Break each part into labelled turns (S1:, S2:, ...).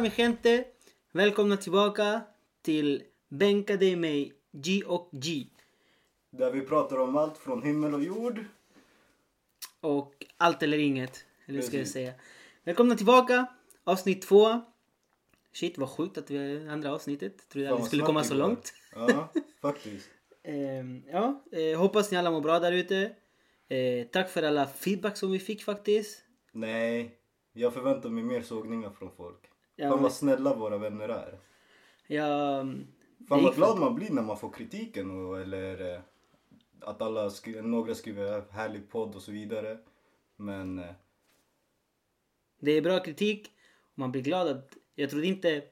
S1: mi gente! Välkomna tillbaka till Bänka dig mig G och G.
S2: Där vi pratar om allt från himmel och jord.
S1: Och allt eller inget, eller hur ska jag
S2: Precis.
S1: säga. Välkomna tillbaka, avsnitt två. Shit vad sjukt att vi är andra avsnittet. Trodde aldrig
S2: Fan, vad
S1: skulle
S2: snabbt
S1: komma
S2: det
S1: så
S2: går.
S1: långt.
S2: Ja, faktiskt.
S1: Ehm, ja, eh, hoppas ni alla mår bra där ute. Eh, tack för alla feedback som vi fick faktiskt.
S2: Nej, jag förväntar mig mer sågningar från folk.
S1: Ja,
S2: Fan
S1: men-
S2: vad snälla våra vänner är.
S1: Jag... mm, det
S2: Fan
S1: gick
S2: vad glad man blir när man får kritiken och, eller eh, att alla skri- några skriver härlig podd och så vidare. Men eh,
S1: Det är bra kritik. Och man blir glad att... Jag trodde inte...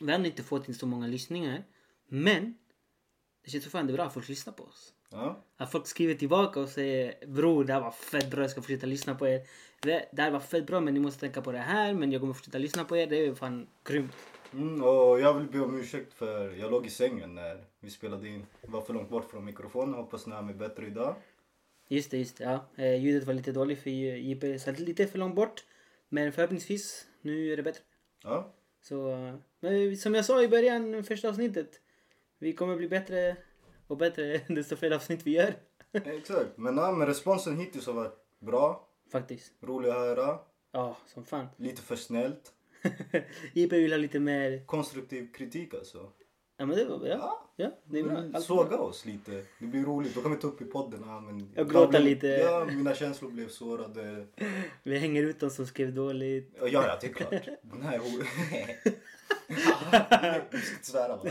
S1: Vi hade inte fått in så många lyssningar. Men... Det känns fortfarande bra att folk lyssnar på oss.
S2: ja,
S1: Att folk skriver tillbaka och säger Bror det här var fett bra, jag ska fortsätta lyssna på er. Det det här var fett bra men ni måste tänka på det här. Men jag kommer fortsätta lyssna på er. Det är fan grymt.
S2: Mm, och jag vill be om ursäkt för jag låg i sängen när vi spelade in. Jag var för långt bort från mikrofonen. Hoppas ni har mig bättre idag.
S1: Just det, just det. Ja. Eh, ljudet var lite dåligt för eh, JP satt lite för långt bort. Men förhoppningsvis, nu är det bättre.
S2: Ja,
S1: Så, eh, men som jag sa i början, första avsnittet. Vi kommer bli bättre och bättre desto fler avsnitt vi gör.
S2: exakt. Men, ja, men responsen hittills har varit bra.
S1: Faktiskt.
S2: Rolig att höra.
S1: Ja, som fan.
S2: Lite för snällt.
S1: JP vill ha lite mer...
S2: konstruktiv kritik alltså.
S1: Ja, men det var bra. Ja,
S2: Ja.
S1: det är bra.
S2: Mm,
S1: Allt är bra.
S2: Såga oss lite. Det blir roligt. Då kan vi ta upp i podden. Ja, men
S1: Jag gråter
S2: blev-
S1: lite.
S2: Ja, mina känslor blev sårade.
S1: Vi hänger ut dem som skrev dåligt.
S2: Ja, ja, det är klart. Den här ho- Ja, Vi ska inte svära va?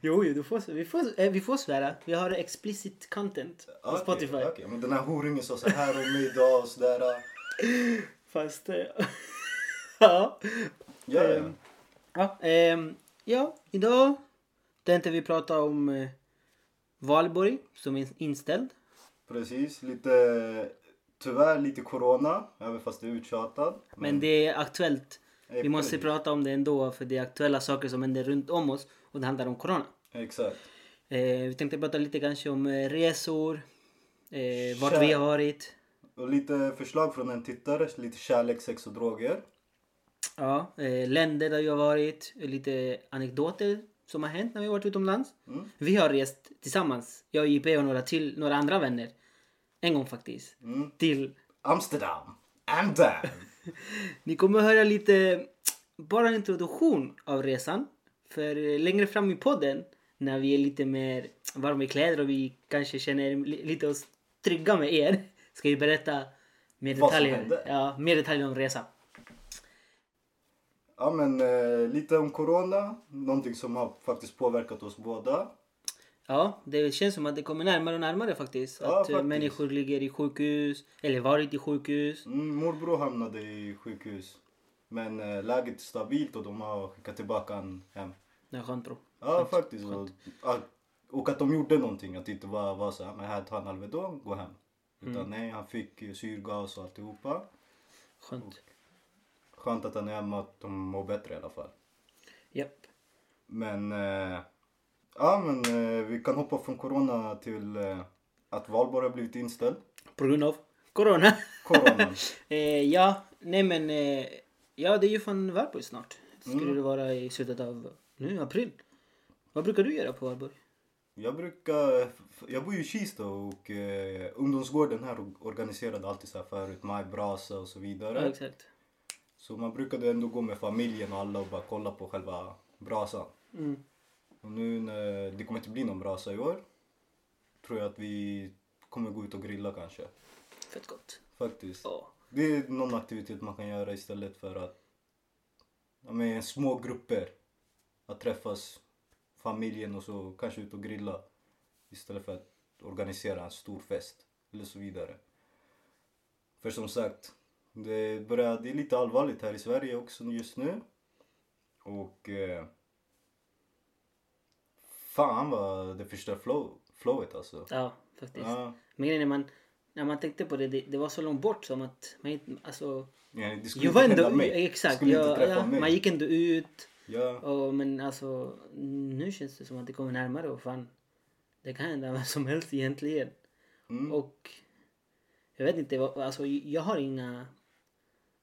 S1: Jo, jo, du får, vi, får, eh, vi får svära. Vi har explicit content på
S2: Okej,
S1: Spotify.
S2: okej. Men den här horungen sa så här om mig idag och sådär.
S1: Fast... eh, ja.
S2: Ja, ja.
S1: Ehm, Ja, ehm, ja, idag tänkte vi prata om eh, Valborg som är inställd.
S2: Precis. Lite... Tyvärr lite corona, även fast det är uttjatat.
S1: Men det är aktuellt.
S2: Eh,
S1: Vi måste
S2: precis.
S1: prata om det ändå för det är aktuella saker som händer runt om oss och det handlar om corona.
S2: Exakt.
S1: Eh, vi tänkte prata lite kanske om eh, resor, eh, vart
S2: Kär-
S1: vi har varit.
S2: Och lite förslag från en tittare. Lite kärlek, sex och droger.
S1: Ja, eh, länder där vi har varit, lite anekdoter som har hänt när vi har varit utomlands.
S2: Mm.
S1: Vi har rest tillsammans, jag, JP och några till, några andra vänner. En gång faktiskt.
S2: Mm.
S1: Till,
S2: Amsterdam. uh, Amsterdam.
S1: ni kommer höra lite, bara en introduktion av resan. För eh, längre fram i podden, när vi är lite mer varma i kläder och vi kanske känner li- lite oss trygga med er, ska vi berätta mer
S2: Vad som
S1: detaljer,
S2: hände.
S1: ja, mer detaljer om resan.
S2: Ja men eh, lite om corona, någonting som har faktiskt påverkat oss båda.
S1: Ja, det känns som att det kommer närmare och närmare faktiskt.
S2: Ja,
S1: att eh,
S2: faktiskt.
S1: människor ligger i sjukhus, eller varit i sjukhus.
S2: Mm, morbror hamnade i sjukhus. Men eh, läget är stabilt och de har skickat tillbaka han hem.
S1: Det är skönt bro.
S2: Ja faktiskt. Och, ja, och att de gjorde någonting, att det inte bara var så här, men här ta en Alvedon, gå hem. Utan nej, han fick eh, syrgas och alltihopa.
S1: Skönt.
S2: Skönt att han är hemma, att de mår bättre i alla fall.
S1: Japp.
S2: Men, eh, ja men eh, vi kan hoppa från corona till eh, att valborg har blivit inställd.
S1: På grund av corona.
S2: Coronan.
S1: eh, ja, nej men. Eh, ja, det är ju fan Valborg snart. Skulle
S2: Mm.
S1: det vara i slutet av nu, april. Vad brukar du göra på Valborg?
S2: Jag brukar, jag bor ju i Kista och eh, ungdomsgården här organiserade alltid så här förut, majbrasa och så vidare.
S1: Ja, exakt.
S2: Så man brukade ändå gå med familjen och alla och bara kolla på själva brasan.
S1: Mm.
S2: Och nu när det kommer inte bli någon brasa i år, tror jag att vi kommer gå ut och grilla kanske.
S1: Fett gott.
S2: Faktiskt.
S1: Ja.
S2: Det är någon aktivitet man kan göra istället för att, ja men små grupper. Att träffas, familjen och så kanske ut och grilla. Istället för att organisera en stor fest eller så vidare. För som sagt, det, börjar, det är lite allvarligt här i Sverige också just nu. Och eh, fan vad det förstör flow, flowet alltså.
S1: Ja, faktiskt.
S2: Ja,
S1: Men grejen är man, när man tänkte på det, det, det var så långt bort som att man inte, alltså.
S2: ja, det skulle
S1: Jag var
S2: inte
S1: ändå,
S2: hända mig.
S1: exakt.
S2: skulle
S1: Jag,
S2: inte träffa
S1: ja,
S2: mig.
S1: man gick ändå ut.
S2: Ja.
S1: Ja, men alltså nu känns det som att det kommer närmare och fan. Det kan hända vad som helst egentligen.
S2: Mm.
S1: Och jag vet inte, vad- alltså jag har inga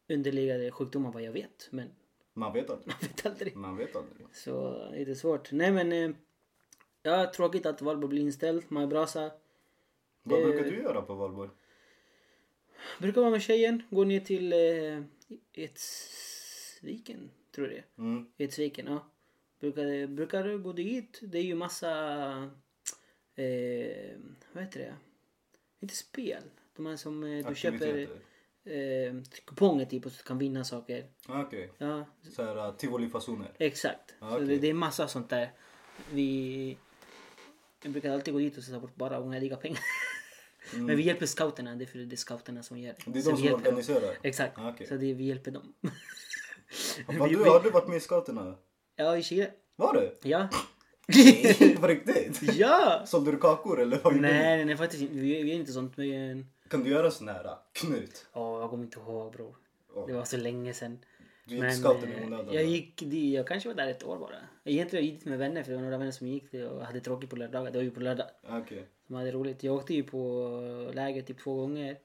S1: underliggande sjukdomar vad jag vet. Men
S2: Man vet aldrig.
S1: Man vet aldrig.
S2: Man vet aldrig.
S1: Så är det svårt. Nej men... eh, Ja, tråkigt att Valborg blir inställd. Majbrasa.
S2: Vad
S1: Det-
S2: brukar du göra på valborg?
S1: Brukar vara med tjejen. Gå ner till eh, Edsviken, tror jag det är.
S2: Mm.
S1: Edsviken, ja. Brukar, brukar gå dit. Det är ju massa... Eh, vad heter det? Inte spel. De här som eh, du köper
S2: Aktiviteter?
S1: eh, kuponger till och så kan vinna saker.
S2: Ah, Okej.
S1: Ja,
S2: Såhär uh, tivolifasoner?
S1: exakt.
S2: Ja,
S1: Så
S2: okej.
S1: det, det är massa sånt där. Vi, vi brukar alltid gå dit och sätta bort bara onödiga pengar. Men vi hjälper scouterna. Det är för det är scouterna som gör
S2: Mm. Det är
S1: Så
S2: de
S1: vi
S2: som
S1: hjälper dem.
S2: organiserar?
S1: Exakt.
S2: Ah, okej.
S1: Så det, vi hjälper dem.
S2: Vad,
S1: vi-
S2: du,
S1: vi-
S2: har du varit med i scouterna?
S1: ja, i Chile.
S2: Var du?
S1: Ja.
S2: På riktigt?
S1: ja!
S2: Sålde du kakor eller vad gjorde
S1: Nej, nej, nej faktiskt inte. Vi, vi gör inte sånt. Men...
S2: du? Kan du göra sån här uh, knut?
S1: Ja, jag kommer inte ihåg bror.
S2: Ja.
S1: Det var så länge sedan.
S2: Du gick scouten i
S1: eh,
S2: onödan?
S1: jag
S2: då?
S1: gick dit, jag kanske var där ett år bara. Egentligen gick jag dit med vänner för det var några vänner som gick dit och hade tråkigt på lördagar. Det var ju på lördag.
S2: Ah, Okej.
S1: De hade roligt. Jag åkte ju på läger typ två gånger.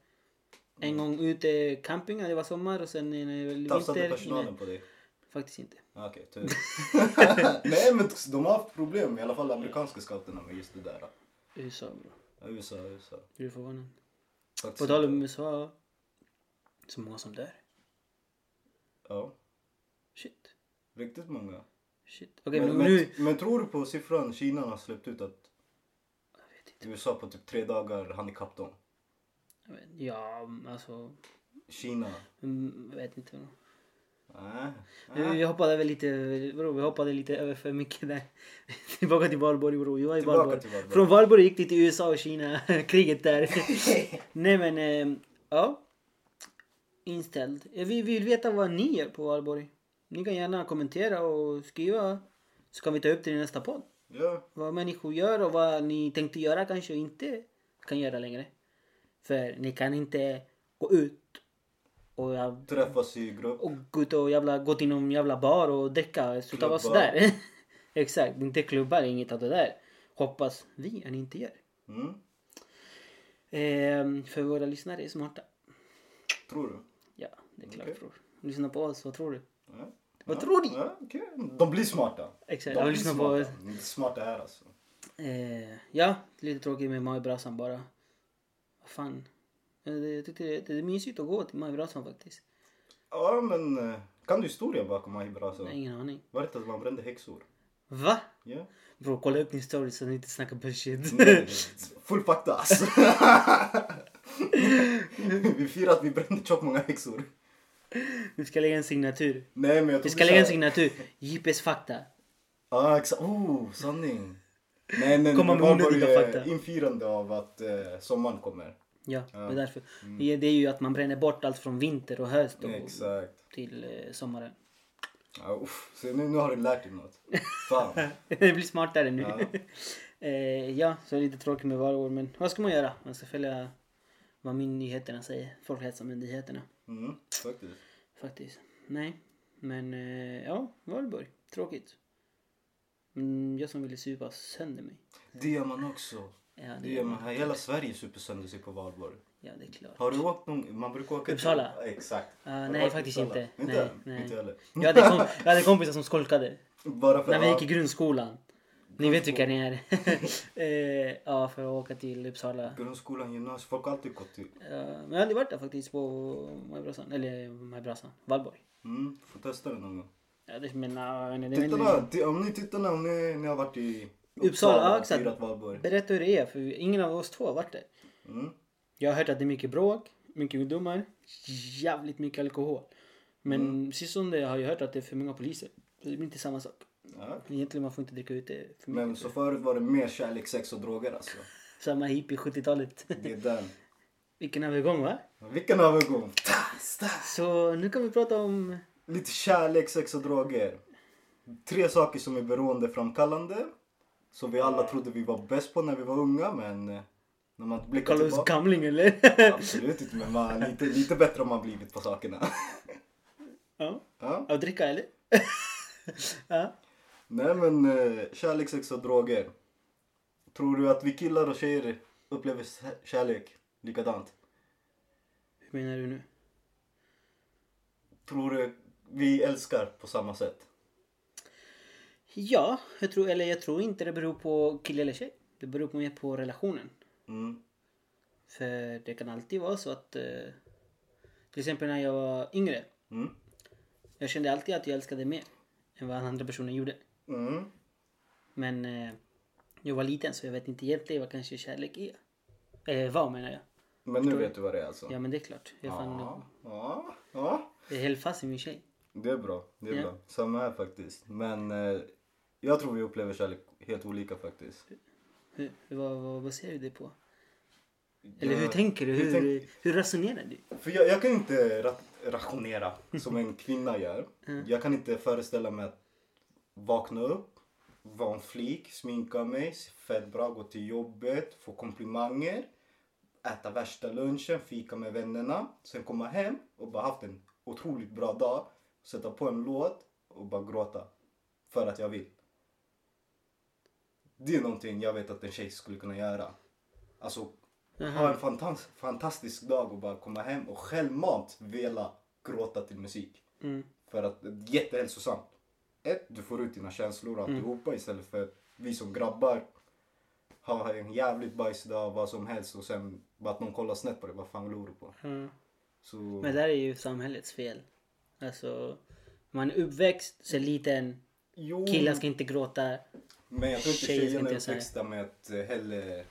S1: En
S2: Mm.
S1: gång ute camping när det var sommar och sen när det var
S2: Tafsade
S1: vinter.
S2: personalen
S1: Nej,
S2: på dig?
S1: Faktiskt inte.
S2: Ah, Okej, tur. Nej men de har haft problem, i alla fall amerikanska scouterna med just det där. uh.
S1: USA bror.
S2: Ja, USA, USA.
S1: Du är förvånad.
S2: Faktiskt.
S1: På tal om USA. Så många som dör.
S2: Ja,
S1: Shit.
S2: riktigt många.
S1: Shit. Okej
S2: men,
S1: men,
S2: men,
S1: nu.
S2: men tror du på siffran Kina har släppt ut att
S1: Jag vet inte.
S2: USA på typ tre dagar hann ikapp dem?
S1: Jag vet- Ja alltså.
S2: Kina?
S1: mm, Jag vet inte.
S2: Nej.
S1: Vi, vi hoppade väl lite, bro, vi hoppade lite över för mycket där. Tillbaka till Valborg bror. Vi var i
S2: Tillbaka
S1: Valborg.
S2: till Valborg.
S1: Från Valborg gick det till USA och Kina, kriget där. Nej men, eh, ja. Inställd. Eh, Vi vill veta vad ni gör på Valborg. Ni kan gärna kommentera och skriva. Så kan vi ta upp det i nästa podd.
S2: Ja,
S1: Vad människor gör och vad ni tänkte göra kanske inte kan göra längre. För ni kan inte gå ut och jag
S2: träffas i grupp.
S1: och gå ut och jävla, gå till någon jävla bar och dricka. Sluta vara
S2: Klubbar.
S1: sådär. Exakt, inte klubbar, inget av det där. Hoppas vi att ni inte gör.
S2: Mm.
S1: Ehm, för våra lyssnare är smarta.
S2: Tror du?
S1: Ja, det är klart
S2: Okej.
S1: bror. Lyssna på oss, vad tror du?
S2: Ja.
S1: Vad
S2: Ja,
S1: tror ni?
S2: Ja, okej. De blir smarta.
S1: Exakt,
S2: De
S1: jag
S2: blir
S1: lyssnar på...
S2: smarta. De är Smarta här alltså.
S1: Eh, ja, lite tråkigt med majbrasan bara. Vad fan. Eh, det- Jag tyckte det, det är mysigt att gå till majbrasan faktiskt.
S2: Ja men eh, kan du historien bakom Mahibra alltså?
S1: Jag har ingen aning.
S2: Var det inte att man brände häxor?
S1: Va?
S2: Ja.
S1: Bror, kolla upp din story så ni inte snackar bullshit.
S2: Nej, Full fakta alltså. vi firar att vi brände tjockt många häxor.
S1: Vi ska lägga en signatur.
S2: Nej men jag
S1: Vi
S2: tog
S1: ska lägga en signatur. JP's fakta.
S2: Ja ah, exakt, oh sanning. Nej men
S1: Komma
S2: det
S1: med
S2: var
S1: onödiga
S2: bara
S1: fakta.
S2: eh, infirande av att eh, sommaren kommer.
S1: Ja, det är därför. Det är ju att man bränner bort allt från vinter och höst och
S2: Mm. Exakt.
S1: till eh, sommaren.
S2: Ja, uff. Så nu, nu har du lärt dig något. Fan.
S1: det blir smartare nu.
S2: Ja.
S1: eh, ja, så det är lite tråkigt med valår men vad ska man göra? Man ska följa vad myndigheterna säger. Folkhälsomyndigheterna.
S2: Mm, faktiskt.
S1: Faktiskt. Nej. Men eh, ja, Valborg. Tråkigt. Mm, jag som ville supa sönder mig.
S2: Det gör man också.
S1: Ja, det
S2: Det
S1: gör
S2: gör man här. Hela Sverige super sönder sig på valborg.
S1: Ja, det är klart.
S2: Har du åkt någon? Man brukar åka till-
S1: Uppsala?
S2: Ja, Exakt.
S1: Ah,
S2: Har du
S1: nej,
S2: åkt
S1: faktiskt
S2: till
S1: inte.
S2: Inte?
S1: Nej, nej.
S2: nej. inte heller.
S1: Jag hade, kom- jag hade kompisar som skolkade.
S2: Bara för
S1: När vi
S2: ja,
S1: gick i grundskolan. Ni vet vilka ni är. eh, ja, för att åka till Uppsala.
S2: grundskolan, gymnasiet, folk har alltid gått till.
S1: Eh, men jag har aldrig varit där faktiskt på Majbrasan. Eller Majbrasan. Valborg.
S2: Mm, får testa det någon gång.
S1: Ja, det, men, uh, det, men,
S2: Tittarna, ti- om ni tittarna, om ni, ni har varit i
S1: Uppsala, ja,
S2: och
S1: exakt.
S2: firat valborg.
S1: Berätta hur det är, för ingen av oss två har varit där.
S2: Mm.
S1: Jag har hört att det är mycket bråk, mycket ungdomar, jävligt mycket alkohol. Men
S2: Mm.
S1: precis som det har jag hört att det är för många poliser. Så det blir inte samma sak.
S2: Ja.
S1: Egentligen man får inte dricka ute för mycket.
S2: Men så förut var det mer kärlek, sex och droger alltså.
S1: Samma hippie 70-talet.
S2: Det är den.
S1: Vilken övergång va?
S2: Vilken övergång! Ta, sta.
S1: Så nu kan vi prata om...
S2: Lite kärlek, sex och droger. Tre saker som är beroendeframkallande. Som vi alla trodde vi var bäst på när vi var unga men eh, när man blickar
S1: Kalla oss
S2: tillbaka.
S1: gamling eller?
S2: Absolut inte men man, lite, lite bättre har man blivit på sakerna.
S1: ja.
S2: Ja.
S1: Av dricka eller? ja.
S2: Nej men eh, kärlek, sex och droger. Tror du att vi killar och tjejer upplever sä- kärlek likadant?
S1: Hur menar du nu?
S2: Tror du vi älskar på samma sätt.
S1: Ja, jag tror, eller jag tror inte det beror på kille eller tjej. Det beror mer på relationen.
S2: Mm.
S1: För det kan alltid vara så att... eh, Till exempel när jag var yngre.
S2: Mm.
S1: Jag kände alltid att jag älskade mer än vad den andra personen gjorde.
S2: Mm.
S1: Men eh, jag var liten så jag vet inte egentligen vad kanske kärlek är. Eh, vad menar jag?
S2: Men nu vet du vad det är alltså?
S1: Ja men det är klart. Jag är fan,
S2: Ja, ja, ja.
S1: Jag är helt fast i min tjej.
S2: Det är bra. Det är
S1: Ja.
S2: bra. Samma här faktiskt. Men eh, jag tror vi upplever kärlek helt olika faktiskt.
S1: Hur, vad, vad baserar du det på? Eller
S2: Jag-
S1: hur tänker du?
S2: hur
S1: Hur,
S2: tänk-
S1: hur resonerar du?
S2: För jag, jag kan inte ra- rationera som en kvinna gör. Jag kan inte föreställa mig att vakna upp, vara en flik, sminka mig, se fett bra, gå till jobbet, få komplimanger, äta värsta lunchen, fika med vännerna, sen komma hem och bara haft en otroligt bra dag, sätta på en låt och bara gråta. För att jag vill. Det är någonting jag vet att en tjej skulle kunna göra. Alltså ha en fantas- fantastisk dag och bara komma hem och självmant vela gråta till musik.
S1: Mm.
S2: För att det är jättehälsosamt. Ett, du får ut dina känslor och
S1: Mm.
S2: alltihopa istället för att vi som grabbar har en jävligt bajsdag vad som helst och sen bara att någon kollar snett på dig. Vad fan glor du på?
S1: Ja.
S2: Så,
S1: Men det där är ju samhällets fel. Alltså, man är uppväxt så liten.
S2: jo,
S1: Killar ska inte gråta.
S2: men jag tror inte
S1: tjejer ska
S2: tjejerna är
S1: inte säga.
S2: uppväxta med att eh, heller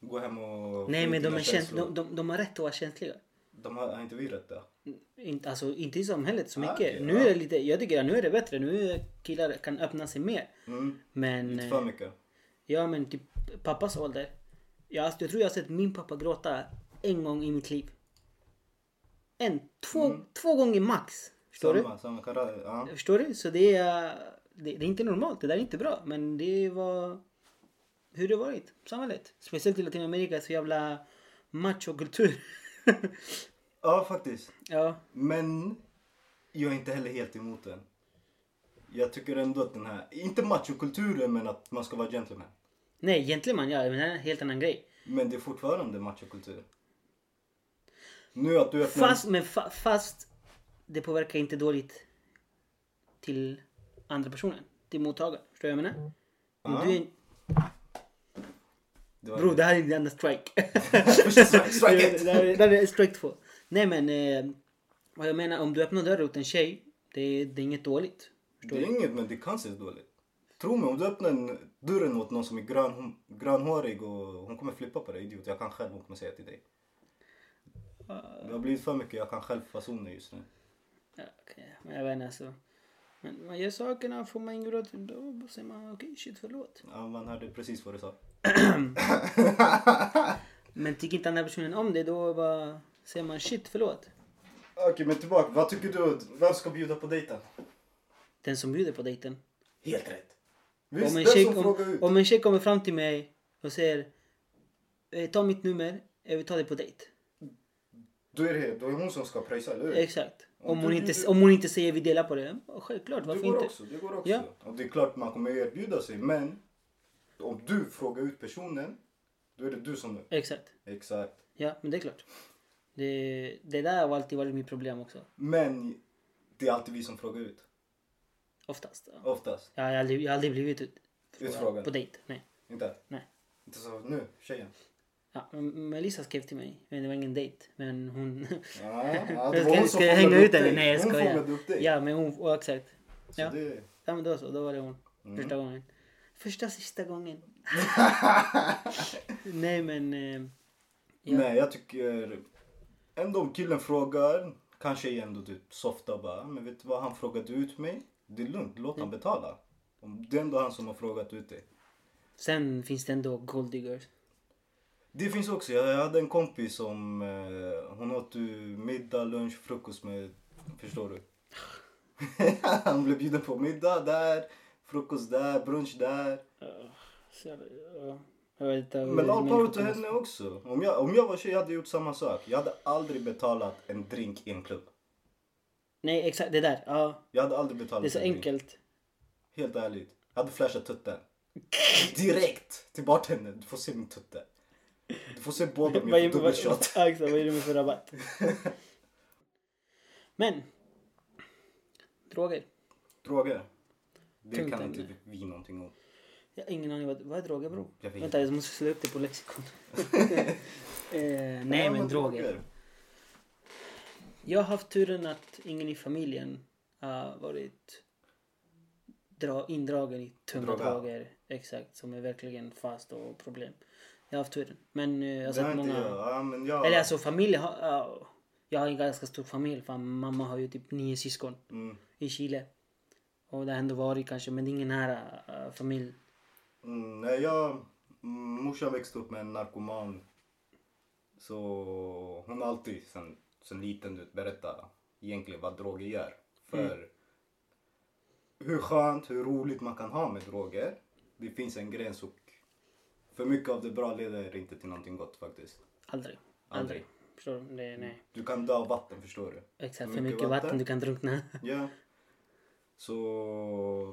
S2: gå hem och... få
S1: Nej
S2: ut
S1: men de,
S2: dina
S1: är käns-
S2: känslor.
S1: de, de, de har rätt att vara känsliga.
S2: De har, har inte vi rätt där?
S1: Inte, alltså inte i samhället så
S2: Ah,
S1: mycket.
S2: okej,
S1: nu
S2: ja.
S1: är det lite, jag tycker att nu är det bättre. Nu är killar kan öppna sig mer.
S2: Mm.
S1: Men,
S2: Inte för
S1: eh,
S2: mycket.
S1: ja men typ pappas ålder. Jag, alltså, jag tror jag har sett min pappa gråta en gång i mitt liv. En, två, två gånger max. Förstår du?
S2: Mm. Samma, samma karaktär. Ja.
S1: Förstår du? Så det är, det, det är inte normalt. Det där är inte bra. Men det var hur det varit. Samhället. Speciellt i Latinamerika. Så jävla machokultur.
S2: ja, faktiskt.
S1: ja.
S2: Men jag är inte heller helt emot den. Jag tycker ändå att den här, inte machokulturen men att man ska vara gentleman.
S1: Nej, gentleman ja. Men det är en helt annan grej.
S2: Men det är fortfarande machokultur. Nu att du öppnar...
S1: Fast, men fa, fast det påverkar inte dåligt till andra personen. Till mottagaren. Förstår du vad jag menar? Om
S2: Ja.
S1: du är en,
S2: Det var-
S1: bro, det här är din andra strike.
S2: Strike- strike it!
S1: Det här är- det här är strike två. Nej men, eh, vad jag menar om du öppnar dörren åt en tjej, det, det är inget dåligt.
S2: Det är inget men det kan ses dåligt. Tro mig om du öppnar en, dörren åt någon som är grön, hon- grönhårig och hon kommer flippa på dig idiot. Jag kan själv hon kommer säga till dig. Det har blivit för mycket jag kan själv fasoner just nu.
S1: Ja, okej, men jag vet inte alltså. Men man gör sakerna, får man inget gråt, då säger man okej shit förlåt.
S2: Ja, man hörde precis vad du sa.
S1: Men tycker inte andra personen om det då bara säger man shit förlåt.
S2: Okej men tillbaka, vad tycker du? Vem ska bjuda på dejten?
S1: Den som bjuder på dejten.
S2: Helt rätt. Visst,
S1: Om en,
S2: den
S1: tjej,
S2: som frågar
S1: om,
S2: ut.
S1: om en tjej kommer fram till mig och säger eh, ta mitt nummer, jag vill ta dig på dejt.
S2: Då är det då är hon som ska pröjsa, eller hur?
S1: Exakt. Om hon,
S2: du
S1: inte,
S2: bjuder-
S1: om hon inte säger vi delar på det. ja, Självklart,
S2: det
S1: varför
S2: går
S1: inte?
S2: också. Det går också.
S1: Ja.
S2: Och det är klart man kommer erbjuda sig men om du frågar ut personen då är det du som...
S1: Exakt.
S2: Exakt.
S1: Ja, men det är klart. Det, det där har alltid varit mitt problem också.
S2: Men det är alltid vi som frågar ut.
S1: Oftast. Ja.
S2: Oftast.
S1: Jag, har aldrig, jag har aldrig blivit ut,
S2: Utfrågad.
S1: på dejt. Nej.
S2: Inte?
S1: Nej.
S2: Inte så nu, tjejen.
S1: Ja, men Melissa skrev till mig. Men det var ingen dejt. Men hon...
S2: Ja, ja, det var
S1: ska
S2: hon som
S1: ska jag hänga
S2: fångade
S1: ut
S2: dig.
S1: henne? Nej jag
S2: Hon fångade
S1: skojar.
S2: upp dig.
S1: Ja men hon... ja, Exakt.
S2: Så
S1: Ja.
S2: det...
S1: Ja men då så, då var det hon. Första gången. Första sista gången. Nej men... Eh, Ja.
S2: Nej, jag tycker ändå om killen frågar kanske är ändå typ softa bara. Men vet du vad, han frågade ut mig. Det är lugnt, låt
S1: Mm.
S2: han betala. Om det är ändå han som har frågat ut dig.
S1: sen finns det ändå golddiggers.
S2: Det finns också, jag hade en kompis som eh, hon åt ju middag, lunch, frukost med, förstår du? han blev bjuden på middag där, frukost där, brunch där.
S1: Mm. Så, ja, jag vet inte hur
S2: Men all power
S1: människor
S2: till
S1: tänker.
S2: henne också. Om jag, om jag var tjej hade jag gjort samma sak. Jag hade aldrig betalat en drink i en klubb.
S1: Nej exakt, det där. Ja,
S2: Jag hade aldrig betalat
S1: det är så
S2: en drink.
S1: enkelt.
S2: Helt ärligt. Jag hade flashat tutten. Direkt till bartendern. Du får se min tutte. Du får se båda om
S1: Vad
S2: jag
S1: är-
S2: får
S1: vad-
S2: dubbelshot.
S1: Ja, exakt, vad är det med för rabatt? Men. Droger?
S2: Droger. Det
S1: Tungt
S2: kan
S1: ämne.
S2: inte vi någonting om.
S1: Jag har ingen aning vad, vad är droger bror?
S2: Jag vet
S1: Vänta jag måste slå upp det på lexikon. eh, nej men droger. Jag har haft turen att ingen i familjen har varit dra, indragen i tunga
S2: Droga.
S1: droger. Exakt, som är verkligen fast och problem. Jag har haft turen. Men eh, jag har
S2: det har
S1: sett
S2: inte
S1: många...
S2: jag. Ja, men jag...
S1: Eller alltså familj har... ja, jag har en ganska stor familj. För mamma har ju typ nio syskon
S2: Mm,
S1: i Chile. Och det har ändå varit kanske, men det är ingen nära eh, familj.
S2: mm, nej, jag... mm, Morsan växte upp med en narkoman. Så hon har alltid sen, sen liten du vet, berättat egentligen vad droger gör. För
S1: Mm.
S2: hur skönt, hur roligt man kan ha med droger. Det finns en gräns och för mycket av det bra leder inte till någonting gott faktiskt.
S1: Aldrig.
S2: Aldrig.
S1: Förstår du? Det, nej.
S2: Du kan dö av vatten förstår du.
S1: Exakt,
S2: För
S1: för mycket,
S2: mycket
S1: vatten.
S2: vatten.
S1: du kan drunkna.
S2: Ja. Så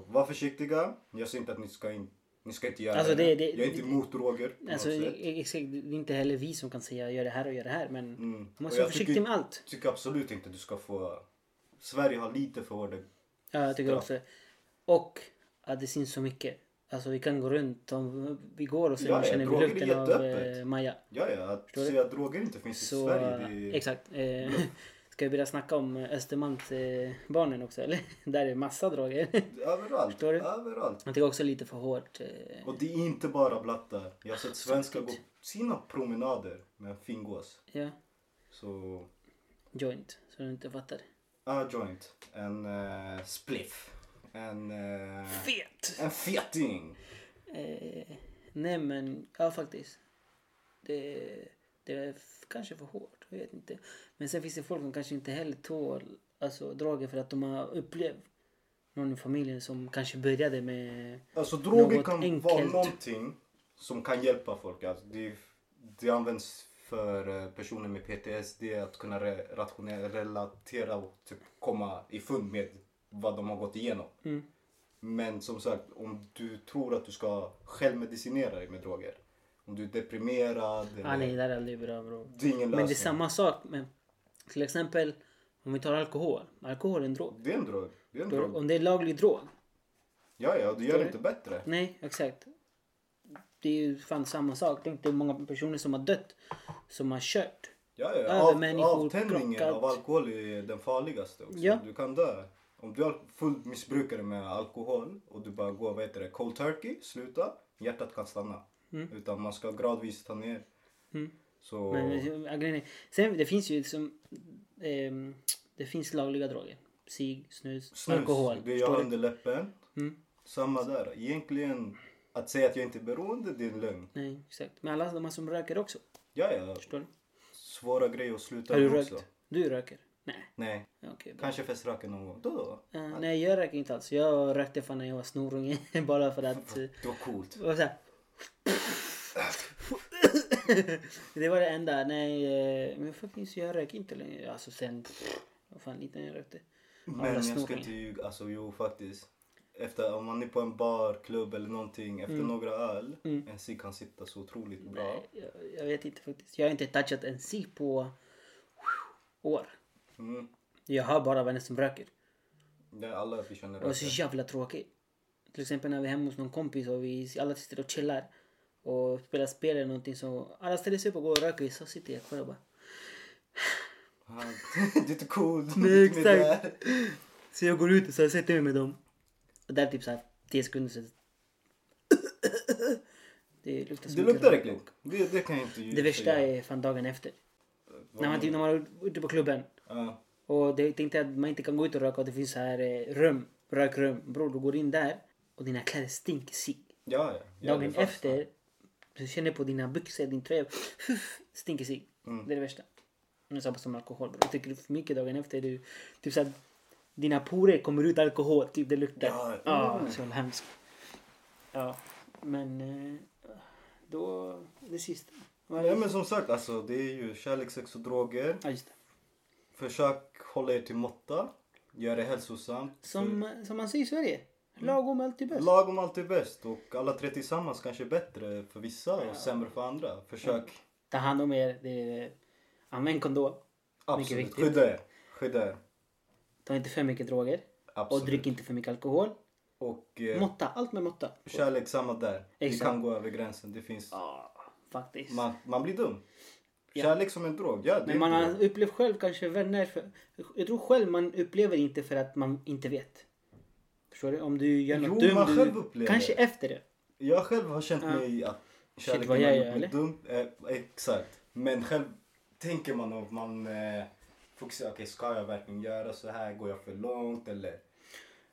S2: var försiktiga. Jag säger inte att ni ska, in, ni ska inte göra
S1: Alltså, det-
S2: det.
S1: det-
S2: Jag är inte
S1: det-
S2: emot droger på
S1: Alltså,
S2: något sätt.
S1: e- exakt, det är inte heller vi som kan säga gör det här och gör det här. Men
S2: Mm.
S1: man
S2: Och
S1: måste
S2: jag
S1: vara försiktig
S2: tycker-
S1: med allt.
S2: tycker absolut inte du ska få... Sverige har lite för hårda...
S1: Ja, jag tycker
S2: Bra.
S1: också Och att det syns så mycket. Alltså vi kan gå runt. Om vi går och så
S2: Ja, ja,
S1: känner vi
S2: droger är
S1: lukten av eh,
S2: jätteöppet.
S1: Maja.
S2: Ja, ja. Att
S1: Förstår du?
S2: säga att droger inte finns i
S1: Så,
S2: Sverige, det är...
S1: exakt. Eh, ska vi börja snacka om Östermalmsbarnen eh, barnen också eller? Där är massa droger.
S2: Överallt.
S1: Förstår du?
S2: Överallt.
S1: Jag tycker också lite för hårt. Eh,
S2: Och det är inte bara blattar. Jag har sett svenskar gå
S1: Absolut.
S2: sina promenader med en fingås.
S1: ja,
S2: Så...
S1: joint. Så du inte fattar.
S2: A joint. En eh, spliff. En... eh,
S1: Fet!
S2: en feting.
S1: Eh, nej men, ja faktiskt. Det, det är f- kanske för hårt, jag vet inte. Men sen finns det folk som kanske inte heller tål alltså, draget för att de har upplevt någon i familjen som kanske började med...
S2: Alltså droger
S1: Något
S2: kan vara
S1: enkelt.
S2: någonting som kan hjälpa folk. Alltså, det, det används för eh, personer med PTSD att kunna re, rationell, relatera och typ komma i fund med vad de har gått igenom.
S1: Mm.
S2: Men som sagt, om du tror att du ska självmedicinera dig med droger. Om du är deprimerad.
S1: Ah, nej, det där är aldrig bra bro.
S2: det är ingen lösning.
S1: Men det är samma sak med till exempel om vi tar alkohol. Alkohol är en drog.
S2: Det är en drog. Det är en
S1: Då-
S2: drog.
S1: Om det är laglig drog.
S2: Ja, ja, det gör
S1: du?
S2: det inte bättre.
S1: Nej, exakt. Det är ju fan samma sak. Tänk dig hur många personer som har dött som har kört.
S2: Ja, ja.
S1: Över
S2: Av,
S1: människor,
S2: avtändningen
S1: krockat.
S2: av alkohol är den farligaste också.
S1: Ja.
S2: Du kan dö. Om du är full missbrukare med alkohol och du bara går, vad heter det, cold turkey, sluta, hjärtat kan stanna. Utan man ska gradvis ta ner.
S1: Mm.
S2: Så,
S1: Men eh, grejen är, sen det finns ju liksom ehm, det finns lagliga droger. Cigg, snus,
S2: snus,
S1: alkohol.
S2: det
S1: förstår
S2: gör
S1: du?
S2: underläppen.
S1: Mm.
S2: Samma där. Egentligen, att säga att jag inte är beroende, det är en lögn.
S1: Nej, exakt. Men alla de här som röker också.
S2: Ja, ja.
S1: Förstår du?
S2: Svåra grejer att sluta
S1: Har du
S2: med
S1: rökt?
S2: också.
S1: Du röker? Nej.
S2: Nej,
S1: Okej. bra.
S2: kanske feströken någon gång. Då, då.
S1: Eh, nej, jag röker inte alls. Jag rökte fan när jag var snorunge. bara för att... eh,
S2: Det var coolt.
S1: det var så här. det var det enda. Nej, eh, men faktiskt jag röker inte längre. Alltså sen... Vad fan liten jag rökte.
S2: Men
S1: Jävla
S2: jag ska
S1: snorunge.
S2: inte ljuga, alltså jo faktiskt. Efter, om man är på en bar, klubb eller någonting,
S1: Mm.
S2: efter några öl, en cigg kan sitta så otroligt bra.
S1: Jag, jag vet inte faktiskt. Jag har inte touchat en si på år.
S2: Mm.
S1: Jag har bara vänner som röker.
S2: Det är alla vi känner
S1: Och det är
S2: röker.
S1: så jävla tråkigt. Till exempel när vi är hemma hos någon kompis och vi alla sitter och chillar och spelar spel eller någonting så alla ställer sig upp och går och röker så sitter jag kvar och bara
S2: Han- Det är inte coolt.
S1: Nej,
S2: Inte med
S1: exakt.
S2: det här.
S1: Så jag går ut och så här, sätter mig med dem. Och där typ såhär 10 sekunder så... Det luktar så
S2: Det
S1: mycket
S2: luktar
S1: rök.
S2: äckligt. Det, det kan jag inte
S1: Det värsta
S2: säga.
S1: är fan dagen efter.
S2: Vad
S1: När man, typ, när
S2: menar
S1: man är ute på klubben
S2: du? Ja.
S1: Och det, tänk dig att man inte kan gå ut och röka och det finns så här eh, rum, rökrum. Bror, du går in där och dina kläder stinker sig.
S2: Ja, ja. ja.
S1: Dagen
S2: det är fast.
S1: efter, du känner på dina byxor, din tröja, stinker sig.
S2: Mm.
S1: Det är det värsta. Det är samma som alkohol bror. Dricker du för mycket dagen efter, du, typ så här, dina porer kommer ut alkohol, typ det luktar.
S2: Ja. mm.
S1: så jävla hemskt. Ja, men eh, då, det sista. Vad är
S2: Nej
S1: det?
S2: men som sagt, alltså det är ju kärlek, sex och droger.
S1: Ja, just det.
S2: Försök hålla er till måtta. Gör det hälsosamt.
S1: Som, som man säger i Sverige, lagom är alltid bäst.
S2: Lagom allt är bäst och alla tre tillsammans kanske är bättre för vissa och sämre för andra. Försök
S1: Ta hand om er. Det är, använd kondom. Mycket
S2: absolut
S1: viktigt.
S2: skydda er. Skydda er.
S1: Ta inte för mycket droger. Och
S2: Absolut.
S1: drick inte för mycket alkohol.
S2: Och eh,
S1: Måtta, allt med måtta.
S2: kärlek, samma där. Vi
S1: Exakt.
S2: kan gå över gränsen. Det finns...
S1: Ja, faktiskt.
S2: Man, man blir dum.
S1: Ja.
S2: Kärlek som en drog. Ja, det
S1: Men
S2: är
S1: man
S2: en drog.
S1: har upplevt själv kanske vänner. För, jag tror själv man upplever inte för att man inte vet. Förstår du? Om du gör något
S2: Jo,
S1: dumt.
S2: man
S1: du-
S2: själv upplever.
S1: Kanske efter det.
S2: Jag själv har känt
S1: Ja.
S2: mig att kärleken
S1: vad
S2: har
S1: jag
S2: gjort
S1: gör,
S2: mig
S1: eller?
S2: dum. Eh, exakt. Men själv tänker man och man eh, fokuserar. Okej, ska jag verkligen göra så här? Går jag för långt eller?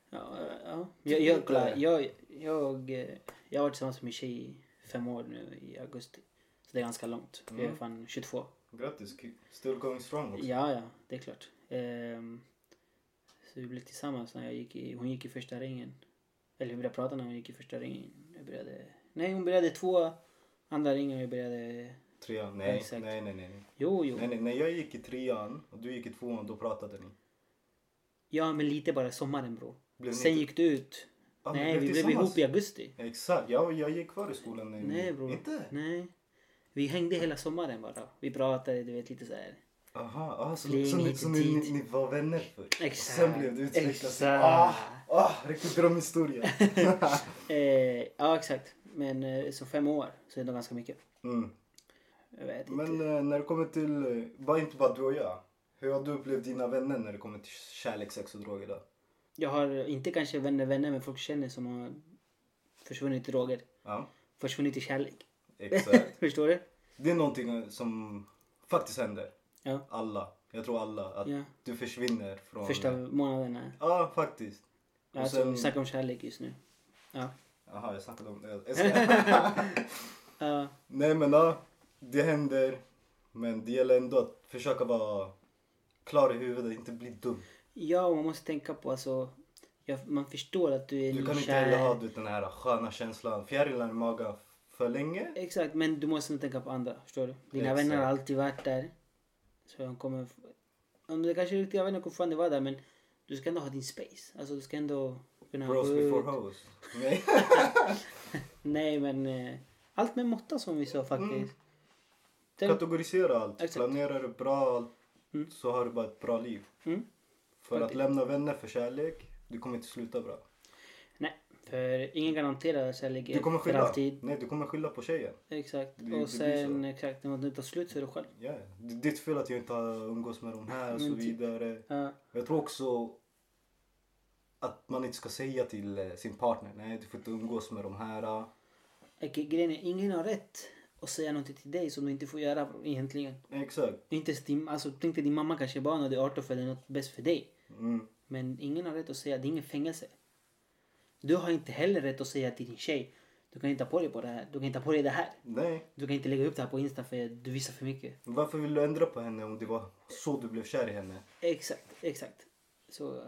S1: Ja, ja. Jag,
S2: Typ
S1: jag, kolla, jag, jag, eh, jag har varit tillsammans med min tjej i fem år nu i augusti. Så det är ganska långt. Vi är
S2: Mm.
S1: fan 22.
S2: Grattis, ki- still going strong också.
S1: Ja, ja, det är klart. Ehm, så vi blev tillsammans när jag gick i, hon gick i första ringen. Eller vi började prata när hon gick i första ringen. Jag började, nej, hon började två andra ringar och jag började,
S2: Trean, nej,
S1: Exakt.
S2: nej, nej, nej.
S1: jo, jo.
S2: Nej, nej, när jag gick i trean och du gick i tvåan, då pratade ni.
S1: Ja, men lite bara sommaren bror.
S2: Blev ni
S1: Sen
S2: inte-
S1: gick du ut.
S2: Ah, ni
S1: nej, vi blev
S2: tillsammans?
S1: ihop i augusti.
S2: Exakt, jag, jag gick kvar i skolan. när-
S1: Nej bror.
S2: Inte?
S1: Nej. Vi hängde hela sommaren bara. Vi pratade, du vet lite så här.
S2: Aha, ah, så,
S1: Fling
S2: så, ni,
S1: hit
S2: så
S1: och
S2: ni,
S1: dit.
S2: ni, ni var vänner först?
S1: Exakt,
S2: Och sen blev det utvecklat.
S1: exakt.
S2: Ah, ah, riktigt drömhistoria.
S1: Eh, ja, exakt. Men eh, så fem år så är det nog ganska mycket.
S2: mm.
S1: Jag vet inte.
S2: Men eh, när det kommer till, eh, bara inte bara du och jag. Hur har du upplevt dina vänner när det kommer till kärlek, sex och droger då?
S1: Jag har inte kanske vänner, vänner men folk känner som har försvunnit i droger.
S2: Ja,
S1: Försvunnit i kärlek.
S2: exakt.
S1: Förstår du?
S2: det är någonting eh, som faktiskt händer.
S1: Ja.
S2: Alla. Jag tror alla. Att
S1: Ja.
S2: du försvinner från...
S1: Första månaderna.
S2: Ja, faktiskt. Och
S1: Alltså,
S2: sen-
S1: vi snackar om kärlek just nu. Ja.
S2: Jaha, jag snackade om det. Jag skojar.
S1: Ja.
S2: Nej men ja, det händer. Men det gäller ändå att försöka vara klar i huvudet, inte bli dum.
S1: ja, och man måste tänka på alltså. Ja, man förstår att du är
S2: Du kan inte
S1: nykär.
S2: heller ha du, vet, den här sköna känslan, fjärilar i magen för länge.
S1: Exakt, men du måste nog tänka på andra. Förstår du? Dina
S2: Exakt.
S1: vänner har alltid varit där. Så de kommer... Om det kanske är riktiga vänner kommer fortfarande vara där men du ska ändå ha din space. Alltså du ska ändå kunna
S2: Bros
S1: gå ut.
S2: before hoes. Nej.
S1: Nej men eh, allt med måtta som vi sa faktiskt.
S2: Mm.
S1: Tänk-
S2: Kategorisera allt.
S1: Exakt.
S2: Planera det bra allt,
S1: Mm.
S2: så har du bara ett bra liv.
S1: Mm.
S2: För att
S1: Faktiskt.
S2: lämna vänner för kärlek, du kommer inte sluta bra.
S1: Nej, för ingen garanterar kärlek
S2: Du kommer
S1: för
S2: skylla.
S1: alltid.
S2: Nej, du kommer skylla på tjejen.
S1: Exakt.
S2: Det- det blir
S1: och sen eh, exakt, när det tar slut så är det själv.
S2: Ja, Det är ditt fel att jag inte har umgås med de här och så
S1: Men typ.
S2: vidare.
S1: Ja,
S2: Jag tror också att man inte ska säga till eh, sin partner, nej du får inte umgås med de här. ah."
S1: och grejen är, ingen har rätt att säga någonting till dig som du inte får göra bro, egentligen.
S2: Exakt.
S1: Det är Inte ens din, alltså, tänk dig din mamma kanske bara när du är 18 för det är något bäst för dig.
S2: Mm.
S1: Men ingen har rätt att säga, det är ingen fängelse. Du har inte heller rätt att säga till din tjej, du kan inte ta på dig på det här, du kan inte ta på dig det här.
S2: Nej,
S1: Du kan inte lägga upp det här på Insta för du visar för mycket.
S2: varför vill du ändra på henne om det var så du blev kär i henne?
S1: Exakt, exakt. Så, eh,